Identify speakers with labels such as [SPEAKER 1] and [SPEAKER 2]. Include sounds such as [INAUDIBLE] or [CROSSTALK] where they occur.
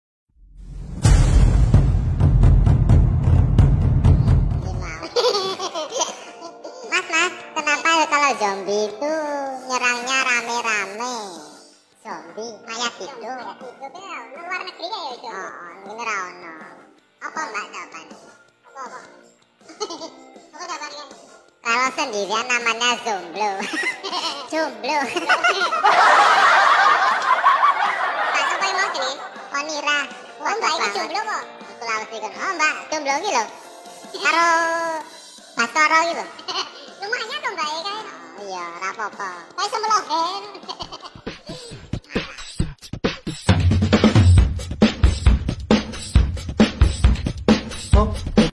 [SPEAKER 1] [LAUGHS] negeri mayat itu
[SPEAKER 2] Ya, hidupnya lu luar negeri ya itu.
[SPEAKER 1] oh oh, bener ra ono apa mbak jawabannya
[SPEAKER 2] Apa apa. [LAUGHS] Apa kabarnya?
[SPEAKER 1] kalau sendirian namanya [LAUGHS] jomblo jomblo
[SPEAKER 2] Iya, Pak apa yang mau jenis?
[SPEAKER 1] onira
[SPEAKER 2] Oh mbak ini jomblo kok.
[SPEAKER 1] aku lalu sih kan oh mbak jomblo gitu loh
[SPEAKER 2] [LAUGHS]
[SPEAKER 1] karo basoro gitu
[SPEAKER 2] Lumayan dong mbak ya kan.
[SPEAKER 1] oh iya rapopo
[SPEAKER 2] Kayak semelogen.